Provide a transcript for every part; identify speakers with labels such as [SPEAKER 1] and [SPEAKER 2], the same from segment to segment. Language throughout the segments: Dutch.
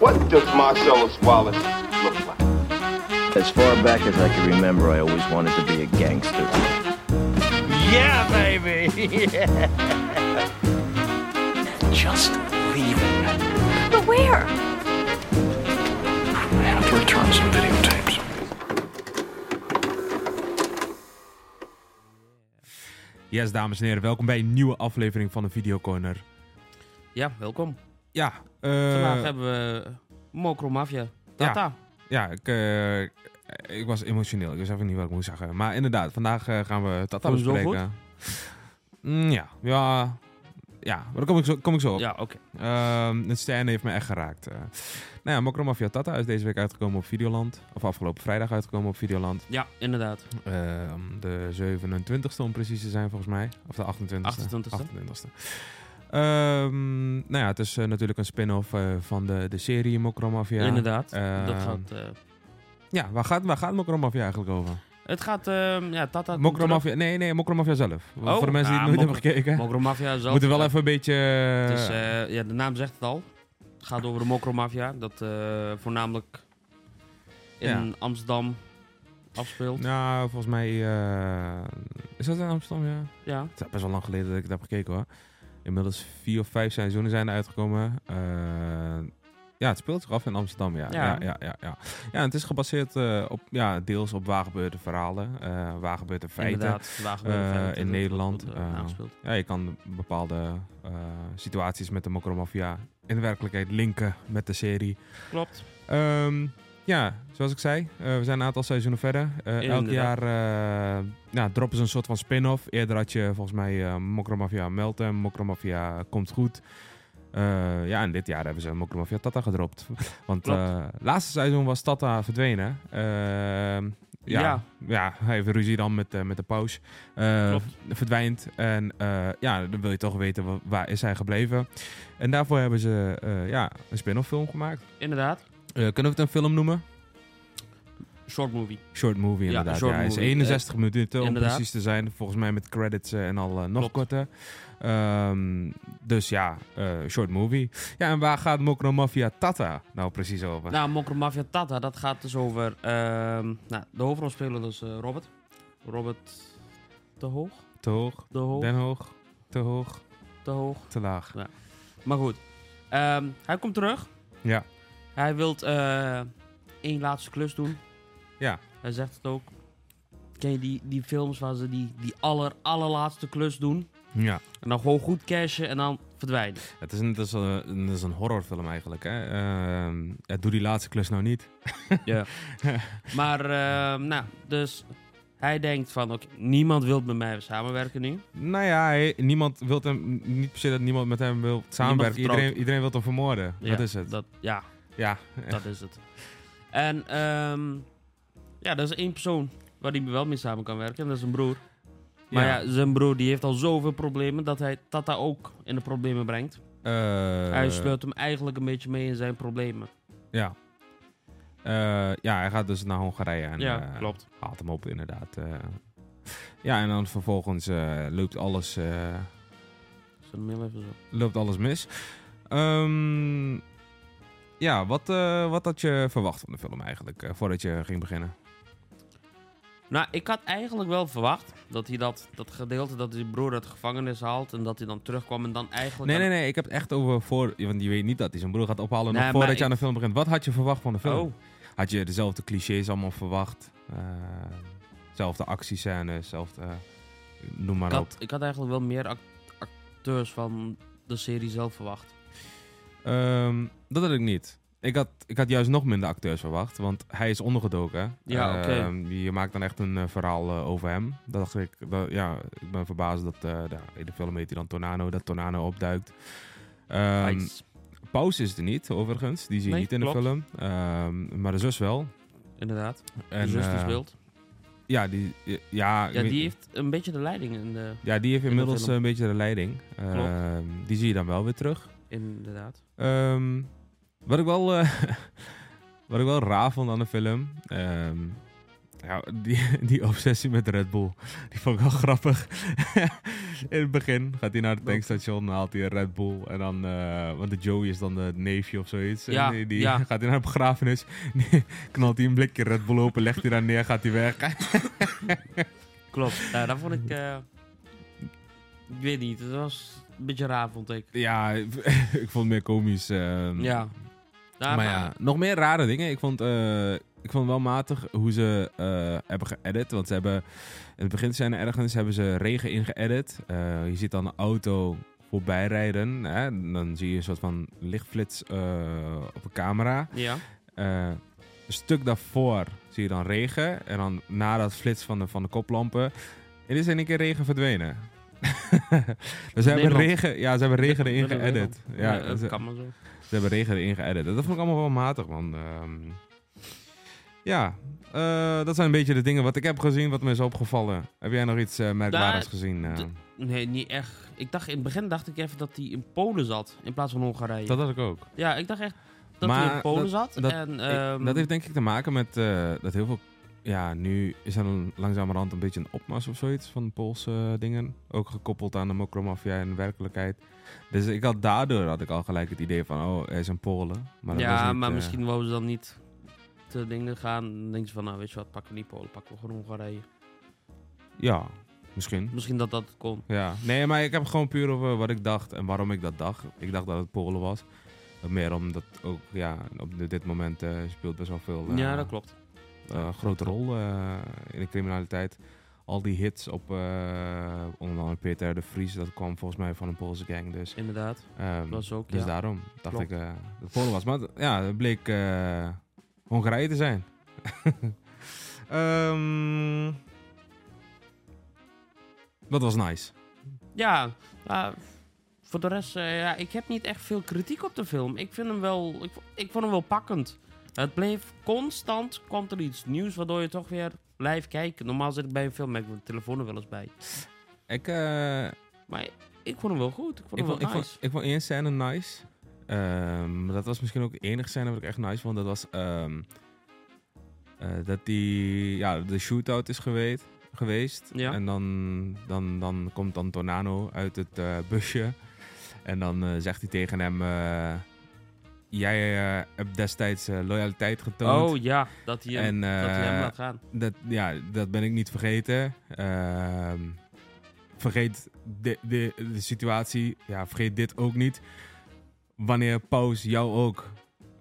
[SPEAKER 1] What does Marcellus Wallace look like?
[SPEAKER 2] As far back as I can remember, I always wanted to be a gangster.
[SPEAKER 3] Yeah, baby!
[SPEAKER 4] Just leaving.
[SPEAKER 5] But where?
[SPEAKER 4] I have to return some videotapes.
[SPEAKER 6] Yes, dames en heren, welkom bij een nieuwe aflevering van de Videocorner.
[SPEAKER 3] Ja, welkom.
[SPEAKER 6] Ja, eh,
[SPEAKER 3] Vandaag hebben we Mokro Mafia. Tata.
[SPEAKER 6] ja ik, eh, ik was emotioneel. Ik wist even niet wat ik moest zeggen. Maar inderdaad, vandaag eh, gaan we Tata
[SPEAKER 3] Vond je het wel
[SPEAKER 6] bespreken. Mm, ja, ja, ja, maar daar kom ik zo, kom ik zo op.
[SPEAKER 3] Ja, oké.
[SPEAKER 6] Ehm, het Stijn heeft me echt geraakt. Eh, nou ja, Mokro Mafia Tata is deze week uitgekomen op Videoland. Of afgelopen vrijdag uitgekomen op Videoland.
[SPEAKER 3] Ja, inderdaad.
[SPEAKER 6] Ehm, de 27e om precies te zijn, volgens mij. Of de 28e.
[SPEAKER 3] 28e.
[SPEAKER 6] 28e. Ehm, nou ja, het is eh, natuurlijk een spin-off eh, van de, de serie Mokro Mafia.
[SPEAKER 3] inderdaad.
[SPEAKER 6] Ehm,
[SPEAKER 3] dat gaat, eh,
[SPEAKER 6] Ja, waar gaat, waar gaat Mokro Mafia eigenlijk over?
[SPEAKER 3] het gaat, ehm ja, Tata... komt
[SPEAKER 6] Mokro
[SPEAKER 3] terug.
[SPEAKER 6] Mafia, nee, nee, Mokro Mafia zelf.
[SPEAKER 3] Oh,
[SPEAKER 6] Voor de mensen die
[SPEAKER 3] ah,
[SPEAKER 6] het nooit
[SPEAKER 3] Mokro-
[SPEAKER 6] hebben gekeken.
[SPEAKER 3] Mokro Mafia zelf.
[SPEAKER 6] moeten we wel
[SPEAKER 3] ja.
[SPEAKER 6] even een beetje...
[SPEAKER 3] Het is, eh, ja, de naam zegt het al. Het gaat over de Mokro Mafia. Dat eh, voornamelijk in
[SPEAKER 6] Ja.
[SPEAKER 3] Amsterdam afspeelt. Ja.
[SPEAKER 6] nou, volgens mij... eh, is dat in Amsterdam, ja? Het is best wel lang geleden dat ik het heb gekeken hoor. Inmiddels vier of vijf seizoenen zijn er uitgekomen. Eh, ja, het speelt zich af in Amsterdam, ja. Ja,
[SPEAKER 3] Ja.
[SPEAKER 6] ja, ja. ja, ja. en het is gebaseerd eh, op, ja, deels op waargebeurde verhalen, eh waargebeurde feiten.
[SPEAKER 3] inderdaad. Vandaag gebeurde
[SPEAKER 6] eh,
[SPEAKER 3] feiten,
[SPEAKER 6] in
[SPEAKER 3] dat
[SPEAKER 6] Nederland,
[SPEAKER 3] wordt, eh,
[SPEAKER 6] eh,
[SPEAKER 3] aangespeeld.
[SPEAKER 6] Ja, je kan bepaalde eh, situaties met de Mokromafia in de werkelijkheid linken met de serie.
[SPEAKER 3] Klopt.
[SPEAKER 6] Ehm, ja, zoals ik zei, eh, we zijn een aantal seizoenen verder. Eh, elk
[SPEAKER 3] Inderdaad.
[SPEAKER 6] jaar eh, ja, droppen ze een soort van spin-off. Eerder had je volgens mij eh Mokromafia Meltem, Mokromafia Komt Goed. Eh, ja, en dit jaar hebben ze Mokromafia Tata gedropt. Want
[SPEAKER 3] Klopt.
[SPEAKER 6] eh laatste seizoen was Tata verdwenen. Ehm, ja,
[SPEAKER 3] Ja.
[SPEAKER 6] ja. hij heeft ruzie dan met, eh, met de paus. Eh,
[SPEAKER 3] Klopt.
[SPEAKER 6] verdwijnt. En eh, ja, dan wil je toch weten wa- waar is hij gebleven. En daarvoor hebben ze eh, ja, een spin-off film gemaakt.
[SPEAKER 3] Inderdaad.
[SPEAKER 6] Eh, kunnen we het een film noemen?
[SPEAKER 3] Short movie.
[SPEAKER 6] Short movie
[SPEAKER 3] Ja,
[SPEAKER 6] inderdaad. Ja,
[SPEAKER 3] short
[SPEAKER 6] hij is
[SPEAKER 3] movie. Eh,
[SPEAKER 6] 61 minuten om
[SPEAKER 3] inderdaad.
[SPEAKER 6] precies te zijn. Volgens mij met credits eh, en al eh, nog
[SPEAKER 3] Klopt.
[SPEAKER 6] korter. Ehm, dus ja, eh, short movie. Ja, en waar gaat Mokro Mafia Tata nou precies over?
[SPEAKER 3] Nou, Mokro Mafia Tata, dat gaat dus over... ehm, nou, de hoofdrolspeler is eh, Robert. Robert te hoog?
[SPEAKER 6] te hoog,
[SPEAKER 3] De hoog?
[SPEAKER 6] den hoog, te hoog,
[SPEAKER 3] Te hoog.
[SPEAKER 6] te laag.
[SPEAKER 3] Maar goed. Ehm, hij komt terug.
[SPEAKER 6] Ja.
[SPEAKER 3] Hij wil eh één laatste klus doen.
[SPEAKER 6] Ja.
[SPEAKER 3] Hij zegt het ook. Ken je die, die films waar ze die, die aller, allerlaatste klus doen?
[SPEAKER 6] Ja,
[SPEAKER 3] En dan gewoon goed cashen en dan verdwijnen.
[SPEAKER 6] het is een, het is eh, een, het is een horrorfilm eigenlijk. Hè? Ehm, ja, doe die laatste klus nou niet.
[SPEAKER 3] Maar, ehm, nou, dus hij denkt van, oké, niemand wil met mij samenwerken nu.
[SPEAKER 6] Nou ja, hij- niemand wilt hem, niet per se dat niemand met hem wil samenwerken.
[SPEAKER 3] vertrouwt
[SPEAKER 6] Iedereen, iedereen wil hem vermoorden.
[SPEAKER 3] Ja,
[SPEAKER 6] dat is het.
[SPEAKER 3] Dat, ja,
[SPEAKER 6] Ja,
[SPEAKER 3] dat is het. En, ehm, ja, dat is één persoon waar hij wel mee samen kan werken. En dat is een broer. Maar ja, zijn broer die heeft al zoveel problemen dat hij Tata ook in de problemen brengt.
[SPEAKER 6] Eh,
[SPEAKER 3] Hij speelt hem eigenlijk een beetje mee in zijn problemen.
[SPEAKER 6] Ja. Eh, ja, hij gaat dus naar Hongarije en
[SPEAKER 3] ja,
[SPEAKER 6] eh,
[SPEAKER 3] klopt.
[SPEAKER 6] haalt hem op inderdaad. eh. ja, en dan vervolgens eh, loopt, alles, eh,
[SPEAKER 3] Zijn mail even zo.
[SPEAKER 6] loopt alles mis. Ehm, ja, wat, eh, wat had je verwacht van de film eigenlijk, eh, voordat je ging beginnen?
[SPEAKER 3] Nou, ik had eigenlijk wel verwacht dat hij dat, dat gedeelte, dat die broer uit de gevangenis haalt en dat hij dan terugkwam en dan eigenlijk...
[SPEAKER 6] Nee, nee, nee, ik heb het echt over voor... Want je weet niet dat hij zijn broer gaat ophalen
[SPEAKER 3] Nee,
[SPEAKER 6] nog
[SPEAKER 3] maar
[SPEAKER 6] voordat je
[SPEAKER 3] ik-
[SPEAKER 6] aan de film begint. Wat had je verwacht van de film?
[SPEAKER 3] Oh,
[SPEAKER 6] Had je dezelfde clichés allemaal verwacht? Eh, zelfde actiescènes, zelfde... eh, noem maar
[SPEAKER 3] ik
[SPEAKER 6] op.
[SPEAKER 3] had, ik had eigenlijk wel meer act- acteurs van de serie zelf verwacht.
[SPEAKER 6] Ehm, dat had ik niet. Ik had, ik had juist nog minder acteurs verwacht, want hij is ondergedoken.
[SPEAKER 3] Ja, oké.
[SPEAKER 6] Ehm, je maakt dan echt een eh, verhaal eh, over hem. Dat dacht ik, dat- ja, ik ben verbaasd dat eh, nou, in de film heet hij dan Tornado, dat Tornado opduikt. Ehm
[SPEAKER 3] Nice.
[SPEAKER 6] Pauze is er niet, overigens. Die zie je
[SPEAKER 3] Nee,
[SPEAKER 6] niet in
[SPEAKER 3] klopt.
[SPEAKER 6] de film. Ehm, maar de zus wel.
[SPEAKER 3] Inderdaad.
[SPEAKER 6] En,
[SPEAKER 3] de zus die
[SPEAKER 6] eh,
[SPEAKER 3] speelt.
[SPEAKER 6] Ja, die, ja, ik
[SPEAKER 3] Ja,
[SPEAKER 6] weet-
[SPEAKER 3] die heeft een beetje de leiding in de...
[SPEAKER 6] ja, die heeft
[SPEAKER 3] de
[SPEAKER 6] inmiddels
[SPEAKER 3] film.
[SPEAKER 6] eh, een beetje de leiding. Ehm, die zie je dan wel weer terug.
[SPEAKER 3] Inderdaad.
[SPEAKER 6] Ehm, wat, ik wel, eh, wat ik wel raar vond aan de film. ehm, Ja, die, die obsessie met Red Bull, die vond ik wel grappig. In het begin gaat hij naar het tankstation, haalt hij een Red Bull. En dan, eh, want de Joey is dan de neefje of zoiets.
[SPEAKER 3] Ja,
[SPEAKER 6] en die, die-
[SPEAKER 3] ja.
[SPEAKER 6] gaat hij naar een begrafenis, knalt hij een blikje Red Bull open, legt hij daar neer, gaat hij weg.
[SPEAKER 3] Klopt. Ja, dat vond ik... eh, ik weet niet. Het was een beetje raar, vond ik.
[SPEAKER 6] ja, ik vond het meer komisch. ehm.
[SPEAKER 3] Ja. Nou,
[SPEAKER 6] maar ja, nog meer rare dingen. Ik vond, eh, ik vond wel matig hoe ze eh, hebben geëdit. Want ze hebben in het begin zijn er ergens hebben ze regen ingeëdit. Eh je ziet dan een auto voorbij rijden. Hè? En Dan zie je een soort van lichtflits eh, op een camera.
[SPEAKER 3] Ja.
[SPEAKER 6] Eh, een stuk daarvoor zie je dan regen. En dan na dat flits van de, van de koplampen. Het is in één keer regen verdwenen. dus ze hebben,
[SPEAKER 3] Nederland.
[SPEAKER 6] regen, ja, ze hebben regen erin
[SPEAKER 3] Dat- dat- dat-
[SPEAKER 6] geëdit. Ja,
[SPEAKER 3] Ja, dat
[SPEAKER 6] ze-
[SPEAKER 3] kan maar zo.
[SPEAKER 6] ze hebben regen erin geëdit. Dat vond ik allemaal wel matig, man. Ehm, ja, eh, dat zijn een beetje de dingen wat ik heb gezien, wat me is opgevallen. Heb jij nog iets eh, merkwaardigs
[SPEAKER 3] Daar-
[SPEAKER 6] gezien? eh?
[SPEAKER 3] d- Nee, niet echt. Ik dacht, in het begin dacht ik even dat hij in Polen zat. In plaats van Hongarije.
[SPEAKER 6] dat had ik ook.
[SPEAKER 3] Ja, ik dacht echt dat
[SPEAKER 6] Maar
[SPEAKER 3] hij in
[SPEAKER 6] dat-
[SPEAKER 3] Polen zat.
[SPEAKER 6] dat-
[SPEAKER 3] en,
[SPEAKER 6] Ik-
[SPEAKER 3] ehm,
[SPEAKER 6] dat heeft denk ik te maken met eh, dat heel veel... Ja, nu is er een, langzamerhand een beetje een opmars of zoiets van Poolse eh, dingen. Ook gekoppeld aan de mokromafia in werkelijkheid. Dus ik had daardoor had ik al gelijk het idee van, oh, hij is een Polen. Maar dat was
[SPEAKER 3] ja,
[SPEAKER 6] niet,
[SPEAKER 3] maar
[SPEAKER 6] eh,
[SPEAKER 3] misschien wouden ze dan niet te dingen gaan. Dan denken ze van, nou weet je wat, pakken we niet Polen, pakken we gewoon Hongarije.
[SPEAKER 6] Ja, misschien.
[SPEAKER 3] Misschien dat dat kon.
[SPEAKER 6] Ja, nee, maar ik heb gewoon puur over wat ik dacht en waarom ik dat dacht. Ik dacht dat het Polen was. Meer omdat ook, ja, op dit- dit moment eh, speelt best wel veel eh,
[SPEAKER 3] ja, dat klopt.
[SPEAKER 6] eh, grote rol eh, in de criminaliteit. Al die hits op eh, onder andere Peter R. de Vries, dat kwam volgens mij van een Poolse gang. Dus,
[SPEAKER 3] Inderdaad.
[SPEAKER 6] ehm,
[SPEAKER 3] Dat was ook,
[SPEAKER 6] dus
[SPEAKER 3] ja.
[SPEAKER 6] daarom dacht
[SPEAKER 3] Klopt.
[SPEAKER 6] ik eh, dat het Polen was. Maar het- ja, het bleek eh, Hongarije te zijn. Ehm, dat was nice.
[SPEAKER 3] Ja, maar voor de rest, eh, ja, ik heb niet echt veel kritiek op de film. Ik vind hem wel, ik, vo- ik vond hem wel pakkend. Het bleef constant, komt er iets nieuws, waardoor je toch weer live kijkt. Normaal zit ik bij een film, maar ik heb mijn telefoon er wel eens bij.
[SPEAKER 6] Ik, eh,
[SPEAKER 3] Maar ik vond hem wel goed, ik vond
[SPEAKER 6] ik,
[SPEAKER 3] hem
[SPEAKER 6] vond, ik,
[SPEAKER 3] wel
[SPEAKER 6] vond,
[SPEAKER 3] Oh, nice.
[SPEAKER 6] ik vond één scène nice. Ehm, maar dat was misschien ook de enige scène wat ik echt nice vond. Dat was ehm, eh, dat die, ja, de shootout is geweest. geweest.
[SPEAKER 3] Ja.
[SPEAKER 6] En dan, dan, dan komt dan Tornado uit het eh, busje. En dan eh, zegt hij tegen hem... eh, Jij eh, hebt destijds eh, loyaliteit getoond.
[SPEAKER 3] Oh ja, dat hij hem,
[SPEAKER 6] en, eh,
[SPEAKER 3] dat hij hem laat gaan.
[SPEAKER 6] dat, ja, dat ben ik niet vergeten. Ehm, vergeet de, de, de situatie. Ja, vergeet dit ook niet. Wanneer Paus jou ook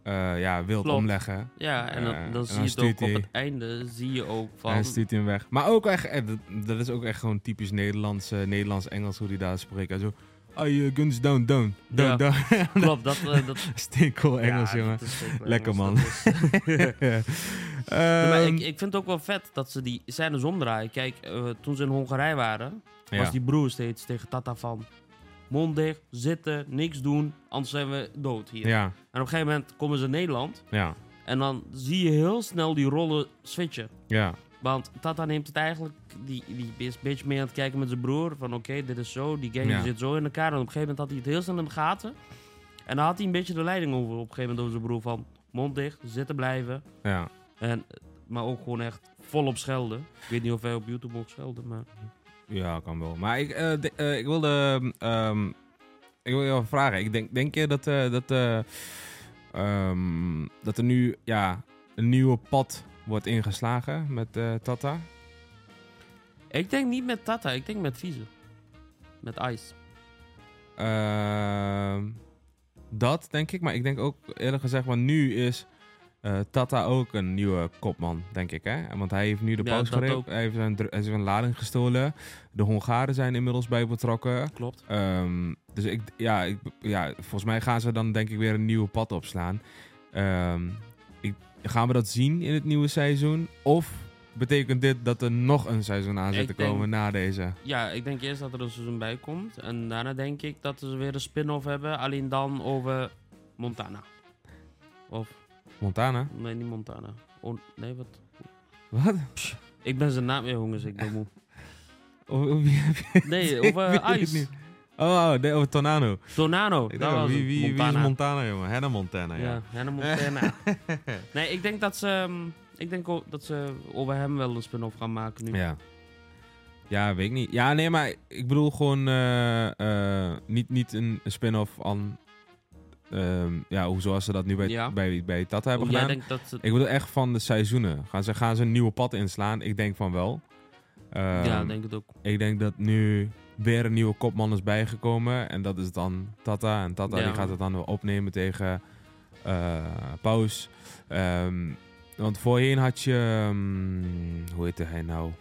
[SPEAKER 6] eh, ja, wilt
[SPEAKER 3] Klopt.
[SPEAKER 6] omleggen.
[SPEAKER 3] Ja, en dan,
[SPEAKER 6] Eh,
[SPEAKER 3] dan
[SPEAKER 6] en
[SPEAKER 3] zie
[SPEAKER 6] dan
[SPEAKER 3] je het ook
[SPEAKER 6] stuurt
[SPEAKER 3] op
[SPEAKER 6] hij-
[SPEAKER 3] het einde, zie je ook van...
[SPEAKER 6] En stuurt hij hem weg. Maar ook echt, eh, dat, dat is ook echt gewoon typisch Nederlands, eh, Nederlands-Engels hoe die daar spreekt. En zo, oh, je guns down, down, down,
[SPEAKER 3] Ja.
[SPEAKER 6] down.
[SPEAKER 3] Klopt, dat... eh, dat
[SPEAKER 6] Stinkel Engels,
[SPEAKER 3] ja,
[SPEAKER 6] jongen. Ehm,
[SPEAKER 3] dat is zeker
[SPEAKER 6] Lekker,
[SPEAKER 3] Engels,
[SPEAKER 6] man.
[SPEAKER 3] dat is- Ja, maar
[SPEAKER 6] Ehm,
[SPEAKER 3] ik, ik vind het ook wel vet dat ze die scènes omdraaien. Kijk, eh, toen ze in Hongarije waren,
[SPEAKER 6] ja.
[SPEAKER 3] was die broer steeds tegen Tata van... Mond dicht, zitten, niks doen, anders zijn we dood hier.
[SPEAKER 6] ja,
[SPEAKER 3] En op een gegeven moment komen ze in Nederland
[SPEAKER 6] ja,
[SPEAKER 3] en dan zie je heel snel die rollen switchen.
[SPEAKER 6] ja,
[SPEAKER 3] Want Tata neemt het eigenlijk, die, die is een beetje mee aan het kijken met zijn broer. Van oké, dit is zo, die gang
[SPEAKER 6] Ja.
[SPEAKER 3] zit zo in elkaar. En op een gegeven moment had hij het heel snel in de gaten. En dan had hij een beetje de leiding over op een gegeven moment over zijn broer. Van mond dicht, zitten blijven.
[SPEAKER 6] ja.
[SPEAKER 3] En, maar ook gewoon echt volop schelden. Ik weet niet of wij op YouTube mogen schelden, maar...
[SPEAKER 6] Ja, kan wel. Maar ik, eh, de- eh, ik wilde. ehm, ik wil je wel vragen. Ik denk, denk je dat, eh, dat, eh, ehm, dat er nu ja, een nieuwe pad wordt ingeslagen met eh, Tata?
[SPEAKER 3] Ik denk niet met Tata, ik denk met Vieze. Met Ice.
[SPEAKER 6] Ehm, dat denk ik. Maar ik denk ook eerlijk gezegd, want nu is eh, Tata ook een nieuwe kopman, denk ik. Hè? Want hij heeft nu de
[SPEAKER 3] Ja,
[SPEAKER 6] paus
[SPEAKER 3] dat
[SPEAKER 6] gereden.
[SPEAKER 3] ook.
[SPEAKER 6] Hij heeft zijn, dru- hij heeft zijn lading gestolen. De Hongaren zijn inmiddels bij betrokken.
[SPEAKER 3] Klopt.
[SPEAKER 6] Ehm, dus ik, ja, ik, ja, volgens mij gaan ze dan denk ik weer een nieuwe pad opslaan. Ehm, ik, gaan we dat zien in het nieuwe seizoen? Of betekent dit dat er nog een seizoen aan zit
[SPEAKER 3] Ik
[SPEAKER 6] te
[SPEAKER 3] denk-
[SPEAKER 6] komen na deze?
[SPEAKER 3] Ja, ik denk eerst dat er een seizoen bij komt. En daarna denk ik dat ze weer een spin-off hebben. Alleen dan over Montana. Of,
[SPEAKER 6] Montana?
[SPEAKER 3] nee, niet Montana. Oh, nee, wat?
[SPEAKER 6] Wat?
[SPEAKER 3] Ik ben zijn naam weer jongens, ik ben moe.
[SPEAKER 6] Of, of wie heb je-
[SPEAKER 3] Nee,
[SPEAKER 6] Ik weet
[SPEAKER 3] over
[SPEAKER 6] het
[SPEAKER 3] Ice.
[SPEAKER 6] niet. Oh, oh, nee, over Tornado. Ik
[SPEAKER 3] Tornado,
[SPEAKER 6] denk
[SPEAKER 3] dat
[SPEAKER 6] al,
[SPEAKER 3] was
[SPEAKER 6] wie,
[SPEAKER 3] het.
[SPEAKER 6] wie, wie is
[SPEAKER 3] Montana. eh,
[SPEAKER 6] Montana, jongen? Hannah Montana, Nou ja.
[SPEAKER 3] Ja, Hannah Montana. nee, ik nou. denk dat ze... ehm, Ik denk ook dat ze over hem wel een spin-off gaan maken nu.
[SPEAKER 6] Ja. Ja, weet ik niet. Ja, nee, maar ik bedoel gewoon eh, eh, niet, niet een een spin-off aan. ehm, ja, hoe zoals ze dat nu bij,
[SPEAKER 3] Ja.
[SPEAKER 6] bij, bij Tata
[SPEAKER 3] Hoe
[SPEAKER 6] hebben
[SPEAKER 3] jij
[SPEAKER 6] gedaan.
[SPEAKER 3] denkt dat ze...
[SPEAKER 6] Ik bedoel echt van de seizoenen. Gaan ze, gaan ze een nieuwe pad inslaan? Ik denk van wel. Ehm,
[SPEAKER 3] ja, denk het ook.
[SPEAKER 6] Ik denk dat nu weer een nieuwe kopman is bijgekomen. En dat is dan Tata. En Tata
[SPEAKER 3] Ja.
[SPEAKER 6] die gaat het dan weer opnemen tegen eh Paus. Ehm, want voorheen had je... ehm, hoe heette hij nou?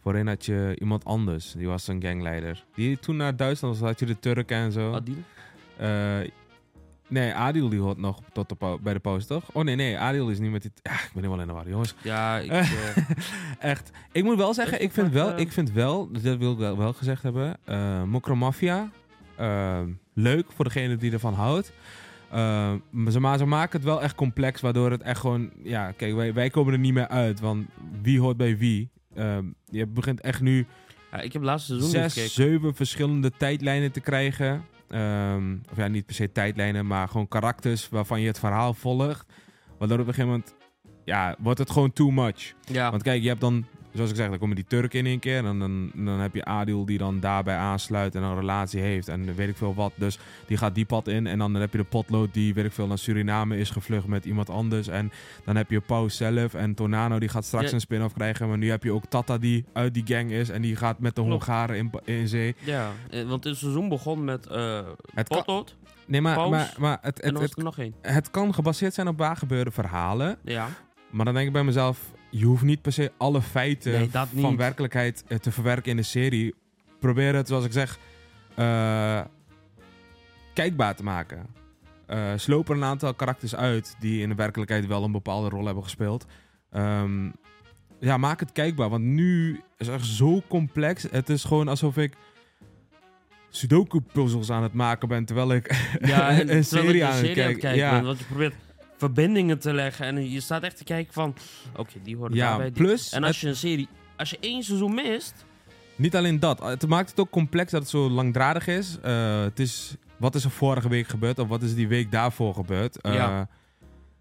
[SPEAKER 6] Voorheen had je iemand anders. Die was een gangleider. Die toen naar Duitsland was, had je de Turken en zo.
[SPEAKER 3] Adil?
[SPEAKER 6] Eh, nee, Adil die hoort nog tot de pau- bij de Paus, toch? Oh nee, nee, Adil is niet met die... Ah, ik ben helemaal in de war, jongens.
[SPEAKER 3] Ja, ik...
[SPEAKER 6] Eh.
[SPEAKER 3] eh,
[SPEAKER 6] Echt. Ik moet wel zeggen,
[SPEAKER 3] Echt
[SPEAKER 6] ik vind
[SPEAKER 3] fucked
[SPEAKER 6] wel,
[SPEAKER 3] up.
[SPEAKER 6] ik vind wel, dus dat wil ik wel, wel gezegd hebben. eh Mokro Mafia. eh, leuk voor degene die ervan houdt. Eh, maar ze- maar ze maken het wel echt complex, waardoor het echt gewoon. Ja, kijk, wij, wij komen er niet meer uit. Want wie hoort bij wie? Ehm, je begint echt nu
[SPEAKER 3] ja, ik heb laatste seizoen
[SPEAKER 6] zes,
[SPEAKER 3] niet gekeken.
[SPEAKER 6] zeven verschillende tijdlijnen te krijgen. Ehm, of ja, niet per se tijdlijnen, maar gewoon karakters waarvan je het verhaal volgt. Waardoor op een gegeven moment. Ja, wordt het gewoon too much.
[SPEAKER 3] Ja,
[SPEAKER 6] Want kijk, je hebt dan, zoals ik zeg, dan komen die Turken in één keer. En dan, dan, dan heb je Adil die dan daarbij aansluit en een relatie heeft en weet ik veel wat. Dus die gaat die pad in. En dan heb je de potlood die, weet ik veel, naar Suriname is gevlucht met iemand anders. En dan heb je Paus zelf en Tornano die gaat straks
[SPEAKER 3] Ja.
[SPEAKER 6] een spin-off krijgen. Maar nu heb je ook Tata die uit die gang is en die gaat met de
[SPEAKER 3] Klopt.
[SPEAKER 6] Hongaren in, in zee.
[SPEAKER 3] ja. Eh, want het seizoen begon met eh
[SPEAKER 6] Het kan,
[SPEAKER 3] Potlood.
[SPEAKER 6] nee, maar,
[SPEAKER 3] Paus
[SPEAKER 6] maar, maar het,
[SPEAKER 3] En
[SPEAKER 6] het,
[SPEAKER 3] er was
[SPEAKER 6] het,
[SPEAKER 3] er nog één.
[SPEAKER 6] het kan gebaseerd zijn op waar gebeurde verhalen.
[SPEAKER 3] Ja.
[SPEAKER 6] Maar dan denk ik bij mezelf, je hoeft niet per se alle feiten
[SPEAKER 3] Nee, dat niet.
[SPEAKER 6] van werkelijkheid eh, te verwerken in de serie. Probeer het, zoals ik zeg, eh, kijkbaar te maken. Eh sloop er een aantal karakters uit die in de werkelijkheid wel een bepaalde rol hebben gespeeld. Ehm, ja, maak het kijkbaar, want nu is het echt zo complex. Het is gewoon alsof ik sudoku-puzzels aan het maken ben, terwijl ik
[SPEAKER 3] Ja, en
[SPEAKER 6] een
[SPEAKER 3] terwijl
[SPEAKER 6] serie
[SPEAKER 3] ik een
[SPEAKER 6] aan het
[SPEAKER 3] serie aan het
[SPEAKER 6] kijken,
[SPEAKER 3] kijken
[SPEAKER 6] ja.
[SPEAKER 3] bent, want je probeert verbindingen te leggen en je staat echt te kijken van, oké, die hoort
[SPEAKER 6] Ja,
[SPEAKER 3] daarbij. Die.
[SPEAKER 6] plus
[SPEAKER 3] en als je een serie, als je één seizoen mist,
[SPEAKER 6] Niet alleen dat. Het maakt het ook complex dat het zo langdradig is. Eh, het is wat is er vorige week gebeurd of wat is die week daarvoor gebeurd. Eh,
[SPEAKER 3] Ja.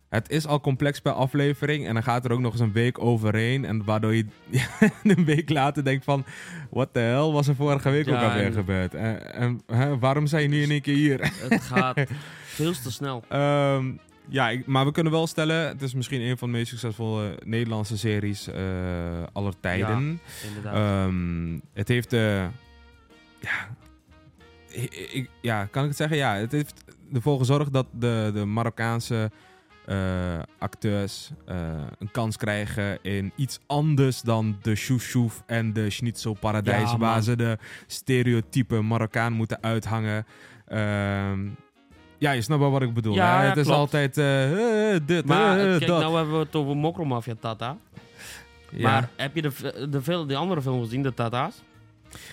[SPEAKER 6] Het is al complex per aflevering en dan gaat er ook nog eens een week overheen. En waardoor je een week later denkt van... What the hell was er vorige week
[SPEAKER 3] Ja,
[SPEAKER 6] ook alweer
[SPEAKER 3] en-
[SPEAKER 6] gebeurd? En, en, hè, waarom zijn je nu in één keer hier?
[SPEAKER 3] het gaat veel te snel.
[SPEAKER 6] Ehm, ja, ik- maar we kunnen wel stellen... Het is misschien een van de meest succesvolle Nederlandse series eh, aller tijden.
[SPEAKER 3] Inderdaad.
[SPEAKER 6] Ehm, het heeft. eh, ja, ik, ik- ja, kan ik het zeggen? Ja, het heeft ervoor gezorgd dat de, de Marokkaanse eh, acteurs eh, een kans krijgen in iets anders dan de shoeshoef en de schnitzel paradijs,
[SPEAKER 3] Ja,
[SPEAKER 6] waar
[SPEAKER 3] man.
[SPEAKER 6] ze de stereotype Marokkaan moeten uithangen. Ehm, ja, je snapt wel wat ik bedoel.
[SPEAKER 3] Ja,
[SPEAKER 6] hè?
[SPEAKER 3] ja,
[SPEAKER 6] het is
[SPEAKER 3] klopt.
[SPEAKER 6] altijd eh, eh, dit,
[SPEAKER 3] maar
[SPEAKER 6] eh,
[SPEAKER 3] kijk,
[SPEAKER 6] dat.
[SPEAKER 3] nou hebben we het over Mokromafia Tata.
[SPEAKER 6] ja.
[SPEAKER 3] Maar heb je de, v- de, veel, die andere films gezien, de Tata's?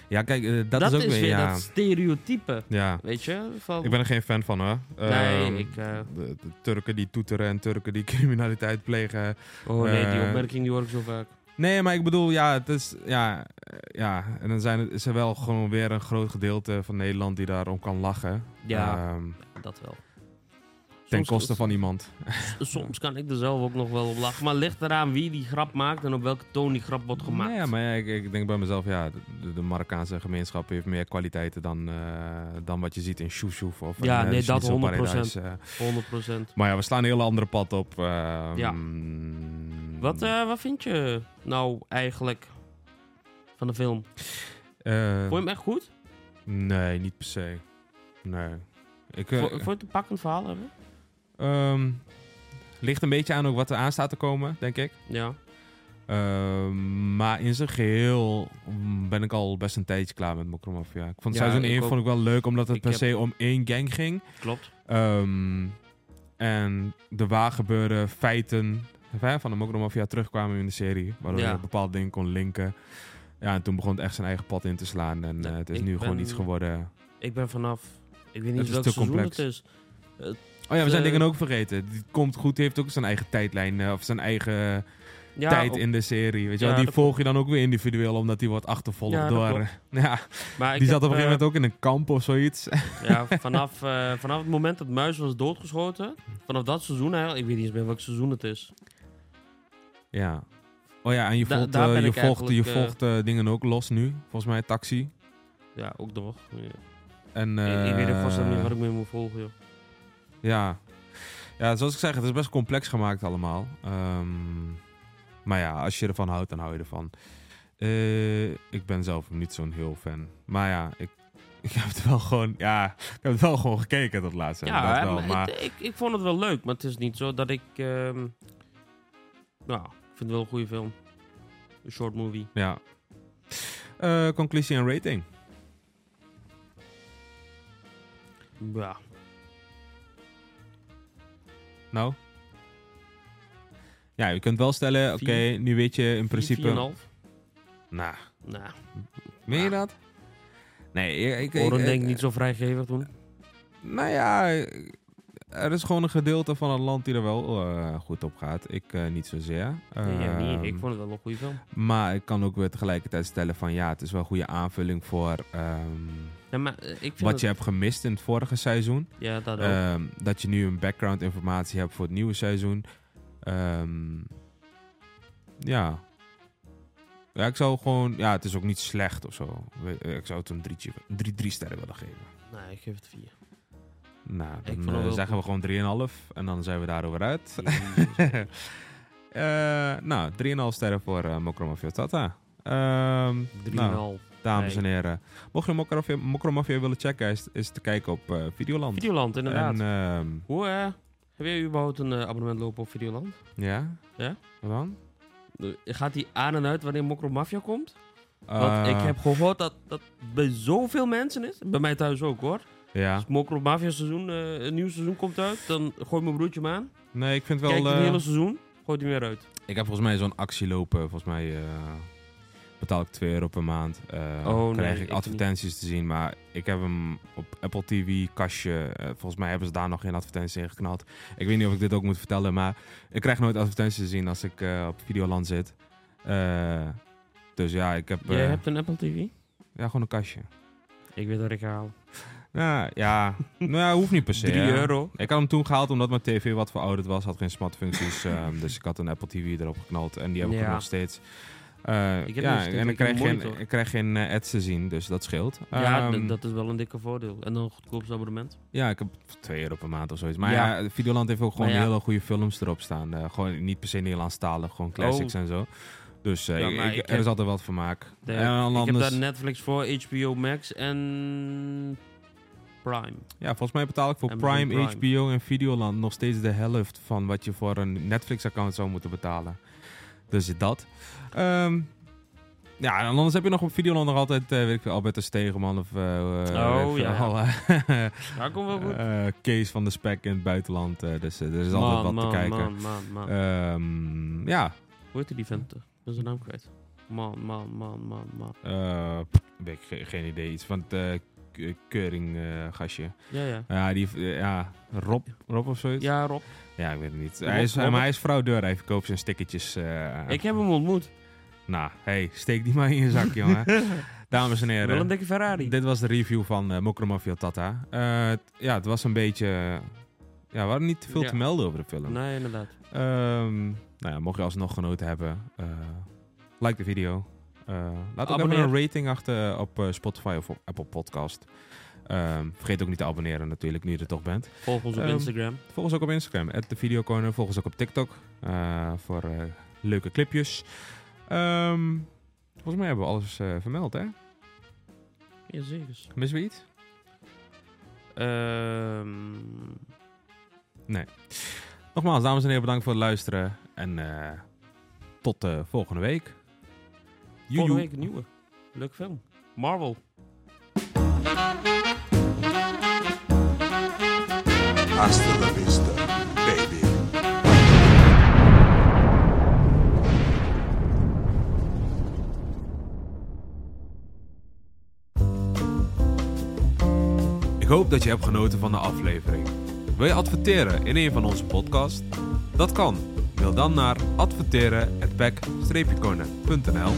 [SPEAKER 6] ja, kijk, eh, dat, is ook weer... ja.
[SPEAKER 3] dat stereotype,
[SPEAKER 6] ja.
[SPEAKER 3] weet je? Van,
[SPEAKER 6] Ik ben er geen fan van hoor.
[SPEAKER 3] Oh. nee,
[SPEAKER 6] Ehm,
[SPEAKER 3] ik... eh,
[SPEAKER 6] De, de Turken die toeteren en Turken die criminaliteit plegen.
[SPEAKER 3] oh nee, die
[SPEAKER 6] eh,
[SPEAKER 3] opmerking die hoor ik zo vaak.
[SPEAKER 6] Nee, maar ik bedoel, ja, het is. Ja, eh, ja. en dan zijn, het- is er wel gewoon weer een groot gedeelte van Nederland die daarom kan lachen.
[SPEAKER 3] Ja,
[SPEAKER 6] Ehm,
[SPEAKER 3] dat wel.
[SPEAKER 6] ten
[SPEAKER 3] Soms-
[SPEAKER 6] koste van iemand.
[SPEAKER 3] Soms kan ik er zelf ook nog wel op lachen. Maar ligt eraan wie die grap maakt en op welke toon die grap wordt gemaakt.
[SPEAKER 6] Nee, maar ja, ik, ik denk bij mezelf, ja, de, de Marokkaanse gemeenschap heeft meer kwaliteiten dan, eh, dan wat je ziet in Shoeshoef of
[SPEAKER 3] Ja,
[SPEAKER 6] in, eh,
[SPEAKER 3] nee, dat
[SPEAKER 6] Schnitzel
[SPEAKER 3] 100%.
[SPEAKER 6] Paradise, eh.
[SPEAKER 3] 100%.
[SPEAKER 6] maar ja, we slaan een heel andere pad op. ehm,
[SPEAKER 3] Ja. Wat, eh, wat vind je nou eigenlijk van de film?
[SPEAKER 6] eh,
[SPEAKER 3] Vond je hem echt goed?
[SPEAKER 6] Nee, niet per se. Nee. Ik, eh,
[SPEAKER 3] Vo- Vond je het een pakkend verhaal hebben?
[SPEAKER 6] ehm, ligt een beetje aan ook wat er aan staat te komen, denk ik.
[SPEAKER 3] Ja.
[SPEAKER 6] Ehm, maar in zijn geheel mm, ben ik al best een tijdje klaar met Mokromafia. Ik vond
[SPEAKER 3] Ja,
[SPEAKER 6] seizoen
[SPEAKER 3] ik
[SPEAKER 6] 1
[SPEAKER 3] ook.
[SPEAKER 6] vond ik wel leuk, omdat het
[SPEAKER 3] Ik
[SPEAKER 6] per
[SPEAKER 3] heb-
[SPEAKER 6] se om één gang ging.
[SPEAKER 3] Klopt.
[SPEAKER 6] Ehm, en de waar gebeurde feiten hè, van de Mokromafia terugkwamen in de serie. Waardoor
[SPEAKER 3] Ja.
[SPEAKER 6] je bepaalde dingen kon linken. Ja, en toen begon het echt zijn eigen pad in te slaan. En
[SPEAKER 3] Nee,
[SPEAKER 6] eh, het is
[SPEAKER 3] ik
[SPEAKER 6] nu gewoon
[SPEAKER 3] ben-
[SPEAKER 6] iets geworden.
[SPEAKER 3] Ik ben vanaf... Ik weet
[SPEAKER 6] Het
[SPEAKER 3] niet
[SPEAKER 6] is
[SPEAKER 3] welk
[SPEAKER 6] te
[SPEAKER 3] seizoen
[SPEAKER 6] complex.
[SPEAKER 3] het is.
[SPEAKER 6] Oh ja, we zijn
[SPEAKER 3] Eh,
[SPEAKER 6] dingen ook vergeten. Die komt goed, die heeft ook zijn eigen tijdlijn eh, of zijn eigen
[SPEAKER 3] Ja,
[SPEAKER 6] tijd
[SPEAKER 3] op-
[SPEAKER 6] in de serie. Weet je
[SPEAKER 3] Ja,
[SPEAKER 6] wel? Die
[SPEAKER 3] dat
[SPEAKER 6] volg je dan ook weer individueel, omdat die wordt achtervolgd
[SPEAKER 3] Ja, dat
[SPEAKER 6] door.
[SPEAKER 3] klopt.
[SPEAKER 6] Ja,
[SPEAKER 3] maar ik
[SPEAKER 6] die zat op
[SPEAKER 3] heb,
[SPEAKER 6] een gegeven moment ook in een kamp of zoiets.
[SPEAKER 3] eh, Ja, vanaf, eh, vanaf het moment dat Muis was doodgeschoten, vanaf dat seizoen eigenlijk, ik weet niet eens meer welk seizoen het is.
[SPEAKER 6] Ja. Oh ja, en je
[SPEAKER 3] Da-
[SPEAKER 6] volgt,
[SPEAKER 3] daar
[SPEAKER 6] eh,
[SPEAKER 3] ben
[SPEAKER 6] je
[SPEAKER 3] ik
[SPEAKER 6] volgt, je
[SPEAKER 3] eigenlijk, eh,
[SPEAKER 6] volgt eh, dingen ook los nu. Volgens mij taxi.
[SPEAKER 3] Ja, ook nog. Ja.
[SPEAKER 6] En,
[SPEAKER 3] Ik- ik weet ook
[SPEAKER 6] eh,
[SPEAKER 3] vast niet waar ik mee moet volgen, joh.
[SPEAKER 6] Ja. ja, zoals ik zeg, het is best complex gemaakt allemaal. Ehm, maar ja, als je ervan houdt, dan hou je ervan. Eh, ik ben zelf niet zo'n heel fan. Maar ja, ik, ik heb het wel gewoon... Ja, ik heb het wel gewoon gekeken tot laatst. hè,
[SPEAKER 3] Ja,
[SPEAKER 6] dat
[SPEAKER 3] hè,
[SPEAKER 6] wel,
[SPEAKER 3] maar
[SPEAKER 6] maar-
[SPEAKER 3] het- ik, ik vond het wel leuk, maar het is niet zo dat ik... ehm, nou, ik vind het wel een goede film. Een short movie.
[SPEAKER 6] Ja. Eh, conclusie en rating.
[SPEAKER 3] Ja,
[SPEAKER 6] Nou? Ja, je kunt wel stellen, oké,
[SPEAKER 3] Vier.
[SPEAKER 6] nu weet je in
[SPEAKER 3] principe...
[SPEAKER 6] principe... Nou,
[SPEAKER 3] Nou,
[SPEAKER 6] meen je dat? Nee, ik... ik, ik,
[SPEAKER 3] Oren
[SPEAKER 6] ik-
[SPEAKER 3] denk ik niet zo vrijgevig toen.
[SPEAKER 6] Nou ja, er is gewoon een gedeelte van het land die er wel eh, goed op gaat. Ik eh, niet zozeer.
[SPEAKER 3] Nee, ja, niet.
[SPEAKER 6] Ehm,
[SPEAKER 3] Ik vond het wel een goede film.
[SPEAKER 6] Maar ik kan ook weer tegelijkertijd stellen van ja, het is wel een goede aanvulling voor ehm,
[SPEAKER 3] Ja, maar eh, ik vind
[SPEAKER 6] wat
[SPEAKER 3] het-
[SPEAKER 6] je hebt gemist in het vorige seizoen.
[SPEAKER 3] Ja, dat ook.
[SPEAKER 6] Ehm, dat je nu een background informatie hebt voor het nieuwe seizoen. Ehm, ja. Ja, ik zou gewoon... Ja, het is ook niet slecht of zo. We- eh, Ik zou het een drietje- drie, drie sterren willen geven.
[SPEAKER 3] Nee, ik geef het vier.
[SPEAKER 6] Nou, dan
[SPEAKER 3] vond het
[SPEAKER 6] eh,
[SPEAKER 3] wel
[SPEAKER 6] zeggen we gewoon 3,5 en dan zijn we daarover uit. Eh, nou, 3,5 sterren voor eh Mokro Mafia Tata. Ehm,
[SPEAKER 3] Drie en een
[SPEAKER 6] nou,
[SPEAKER 3] half.
[SPEAKER 6] dames en
[SPEAKER 3] Nee.
[SPEAKER 6] heren. Mocht je Mokro Mafia- Mokro Mafia willen checken, is, is te kijken op eh, Videoland.
[SPEAKER 3] Videoland, inderdaad.
[SPEAKER 6] En, ehm,
[SPEAKER 3] Hoe, eh, heb jij überhaupt een eh, abonnement lopen op Videoland?
[SPEAKER 6] ja?
[SPEAKER 3] Ja?
[SPEAKER 6] Wat dan?
[SPEAKER 3] Eh, Gaat die aan en uit wanneer Mokro Mafia komt? Want ik
[SPEAKER 6] Eh,
[SPEAKER 3] heb gehoord dat dat bij zoveel mensen is. Bij mij thuis ook hoor.
[SPEAKER 6] Ja.
[SPEAKER 3] Als Mokro Mafia seizoen, eh, een nieuw seizoen komt uit, dan gooi mijn broertje hem aan.
[SPEAKER 6] Nee, ik vind wel...
[SPEAKER 3] Kijk het
[SPEAKER 6] eh,
[SPEAKER 3] hele seizoen, gooit hij weer uit.
[SPEAKER 6] Ik heb volgens mij zo'n actie lopen. Volgens mij eh, betaal ik 2 euro per maand. Eh,
[SPEAKER 3] Oh, nee,
[SPEAKER 6] krijg
[SPEAKER 3] ik
[SPEAKER 6] ik
[SPEAKER 3] niet.
[SPEAKER 6] advertenties te zien. Maar ik heb hem op Apple TV kastje. eh, volgens mij hebben ze daar nog geen advertenties in geknald. Ik weet niet of ik dit ook moet vertellen. Maar ik krijg nooit advertenties te zien als ik eh, op Videoland zit. Eh, dus ja, ik heb, eh,
[SPEAKER 3] Jij hebt een Apple TV?
[SPEAKER 6] ja, gewoon een kastje.
[SPEAKER 3] Ik weet dat ik haal.
[SPEAKER 6] Nou ja, nou, ja, hoeft niet per se.
[SPEAKER 3] 3
[SPEAKER 6] hè.
[SPEAKER 3] euro.
[SPEAKER 6] Ik had hem toen gehaald omdat mijn tv wat verouderd was. Had geen smartfuncties. ehm, dus ik had een Apple TV erop geknald. En die heb ik
[SPEAKER 3] Ja.
[SPEAKER 6] nog steeds. Eh,
[SPEAKER 3] Ik heb nog
[SPEAKER 6] ja,
[SPEAKER 3] steeds
[SPEAKER 6] en
[SPEAKER 3] een
[SPEAKER 6] ik krijg, geen,
[SPEAKER 3] monitor.
[SPEAKER 6] ik krijg geen eh, ads te zien. Dus dat scheelt.
[SPEAKER 3] ja,
[SPEAKER 6] Ehm,
[SPEAKER 3] d- dat is wel een dikke voordeel. En dan een goedkoopst abonnement.
[SPEAKER 6] ja, ik heb 2 euro per maand of zoiets. Maar
[SPEAKER 3] Ja.
[SPEAKER 6] ja, Videoland heeft ook gewoon
[SPEAKER 3] Maar ja.
[SPEAKER 6] hele goede films erop staan. Eh, gewoon niet per se Nederlandstalig. Gewoon classics en zo. Dus eh,
[SPEAKER 3] Oh. Ja,
[SPEAKER 6] ik-
[SPEAKER 3] maar
[SPEAKER 6] ik-
[SPEAKER 3] ik
[SPEAKER 6] er
[SPEAKER 3] heb-
[SPEAKER 6] is altijd wat vermaak.
[SPEAKER 3] De-
[SPEAKER 6] en dan
[SPEAKER 3] ik heb
[SPEAKER 6] anders,
[SPEAKER 3] daar Netflix voor, HBO Max en Prime.
[SPEAKER 6] ja, volgens mij betaal ik voor
[SPEAKER 3] Amazon
[SPEAKER 6] Prime,
[SPEAKER 3] Prime.
[SPEAKER 6] HBO en Videoland nog steeds de helft van wat je voor een Netflix-account zou moeten betalen. Dus dat. Ehm, ja, en anders heb je nog op Videoland nog altijd, eh, weet ik veel, Albert de Stegeman of eh,
[SPEAKER 3] Oh,
[SPEAKER 6] weet ik
[SPEAKER 3] ja.
[SPEAKER 6] veel, eh,
[SPEAKER 3] Dat komt wel goed.
[SPEAKER 6] eh, Kees van de Spek in het buitenland. eh, dus eh, er is altijd wat
[SPEAKER 3] man,
[SPEAKER 6] te kijken. Eh.
[SPEAKER 3] man, man, man.
[SPEAKER 6] Ehm, ja,
[SPEAKER 3] Hoe heette die vent? Ik ben zijn naam kwijt. Man, man, man, man, man.
[SPEAKER 6] eh, weet ik ge- geen idee. Iets van het eh, Ke- Keuring eh, gastje.
[SPEAKER 3] Ja, ja.
[SPEAKER 6] Ja, die, eh, ja, Rob, Rob of zoiets.
[SPEAKER 3] Ja, Rob.
[SPEAKER 6] Ja, ik weet het niet.
[SPEAKER 3] Rob-
[SPEAKER 6] Hij is,
[SPEAKER 3] Robert?
[SPEAKER 6] maar hij is fraudeur. Hij verkoopt zijn stickertjes. eh,
[SPEAKER 3] Ik heb hem ontmoet.
[SPEAKER 6] Nou, hey, steek die maar in je zak, jongen. Dames en
[SPEAKER 3] Wel een
[SPEAKER 6] heren.
[SPEAKER 3] dikke Ferrari.
[SPEAKER 6] Dit was de review van eh Mokro Mafia Tata. Eh, het- ja, het was een beetje... eh, Ja, we hadden niet te veel
[SPEAKER 3] Ja.
[SPEAKER 6] te melden over de film.
[SPEAKER 3] Nee, inderdaad.
[SPEAKER 6] Ehm, nou ja, mocht je alsnog genoten hebben, eh, like de video. Eh, laat ook
[SPEAKER 3] Abonneer.
[SPEAKER 6] even een rating achter op eh, Spotify of op Apple Podcast. Ehm, vergeet ook niet te abonneren natuurlijk, nu je er toch bent.
[SPEAKER 3] Volg ons op
[SPEAKER 6] Ehm,
[SPEAKER 3] Instagram.
[SPEAKER 6] Volg ons ook op Instagram, de Videocorner. Volg ons ook op TikTok eh, voor eh, leuke clipjes. Ehm, volgens mij hebben we alles eh, vermeld, hè?
[SPEAKER 3] Jazeker.
[SPEAKER 6] Missen we iets?
[SPEAKER 3] Ehm
[SPEAKER 6] Nogmaals, dames en heren, bedankt voor het luisteren. En eh, tot eh, volgende week.
[SPEAKER 3] volgende
[SPEAKER 6] Joejoe.
[SPEAKER 3] week een nieuwe. Leuk film. Marvel.
[SPEAKER 5] Hasta la vista, baby.
[SPEAKER 6] Ik hoop dat je hebt genoten van de aflevering. Wil je adverteren in een van onze podcasts? Dat kan. Mail dan naar adverteren@back-corner.nl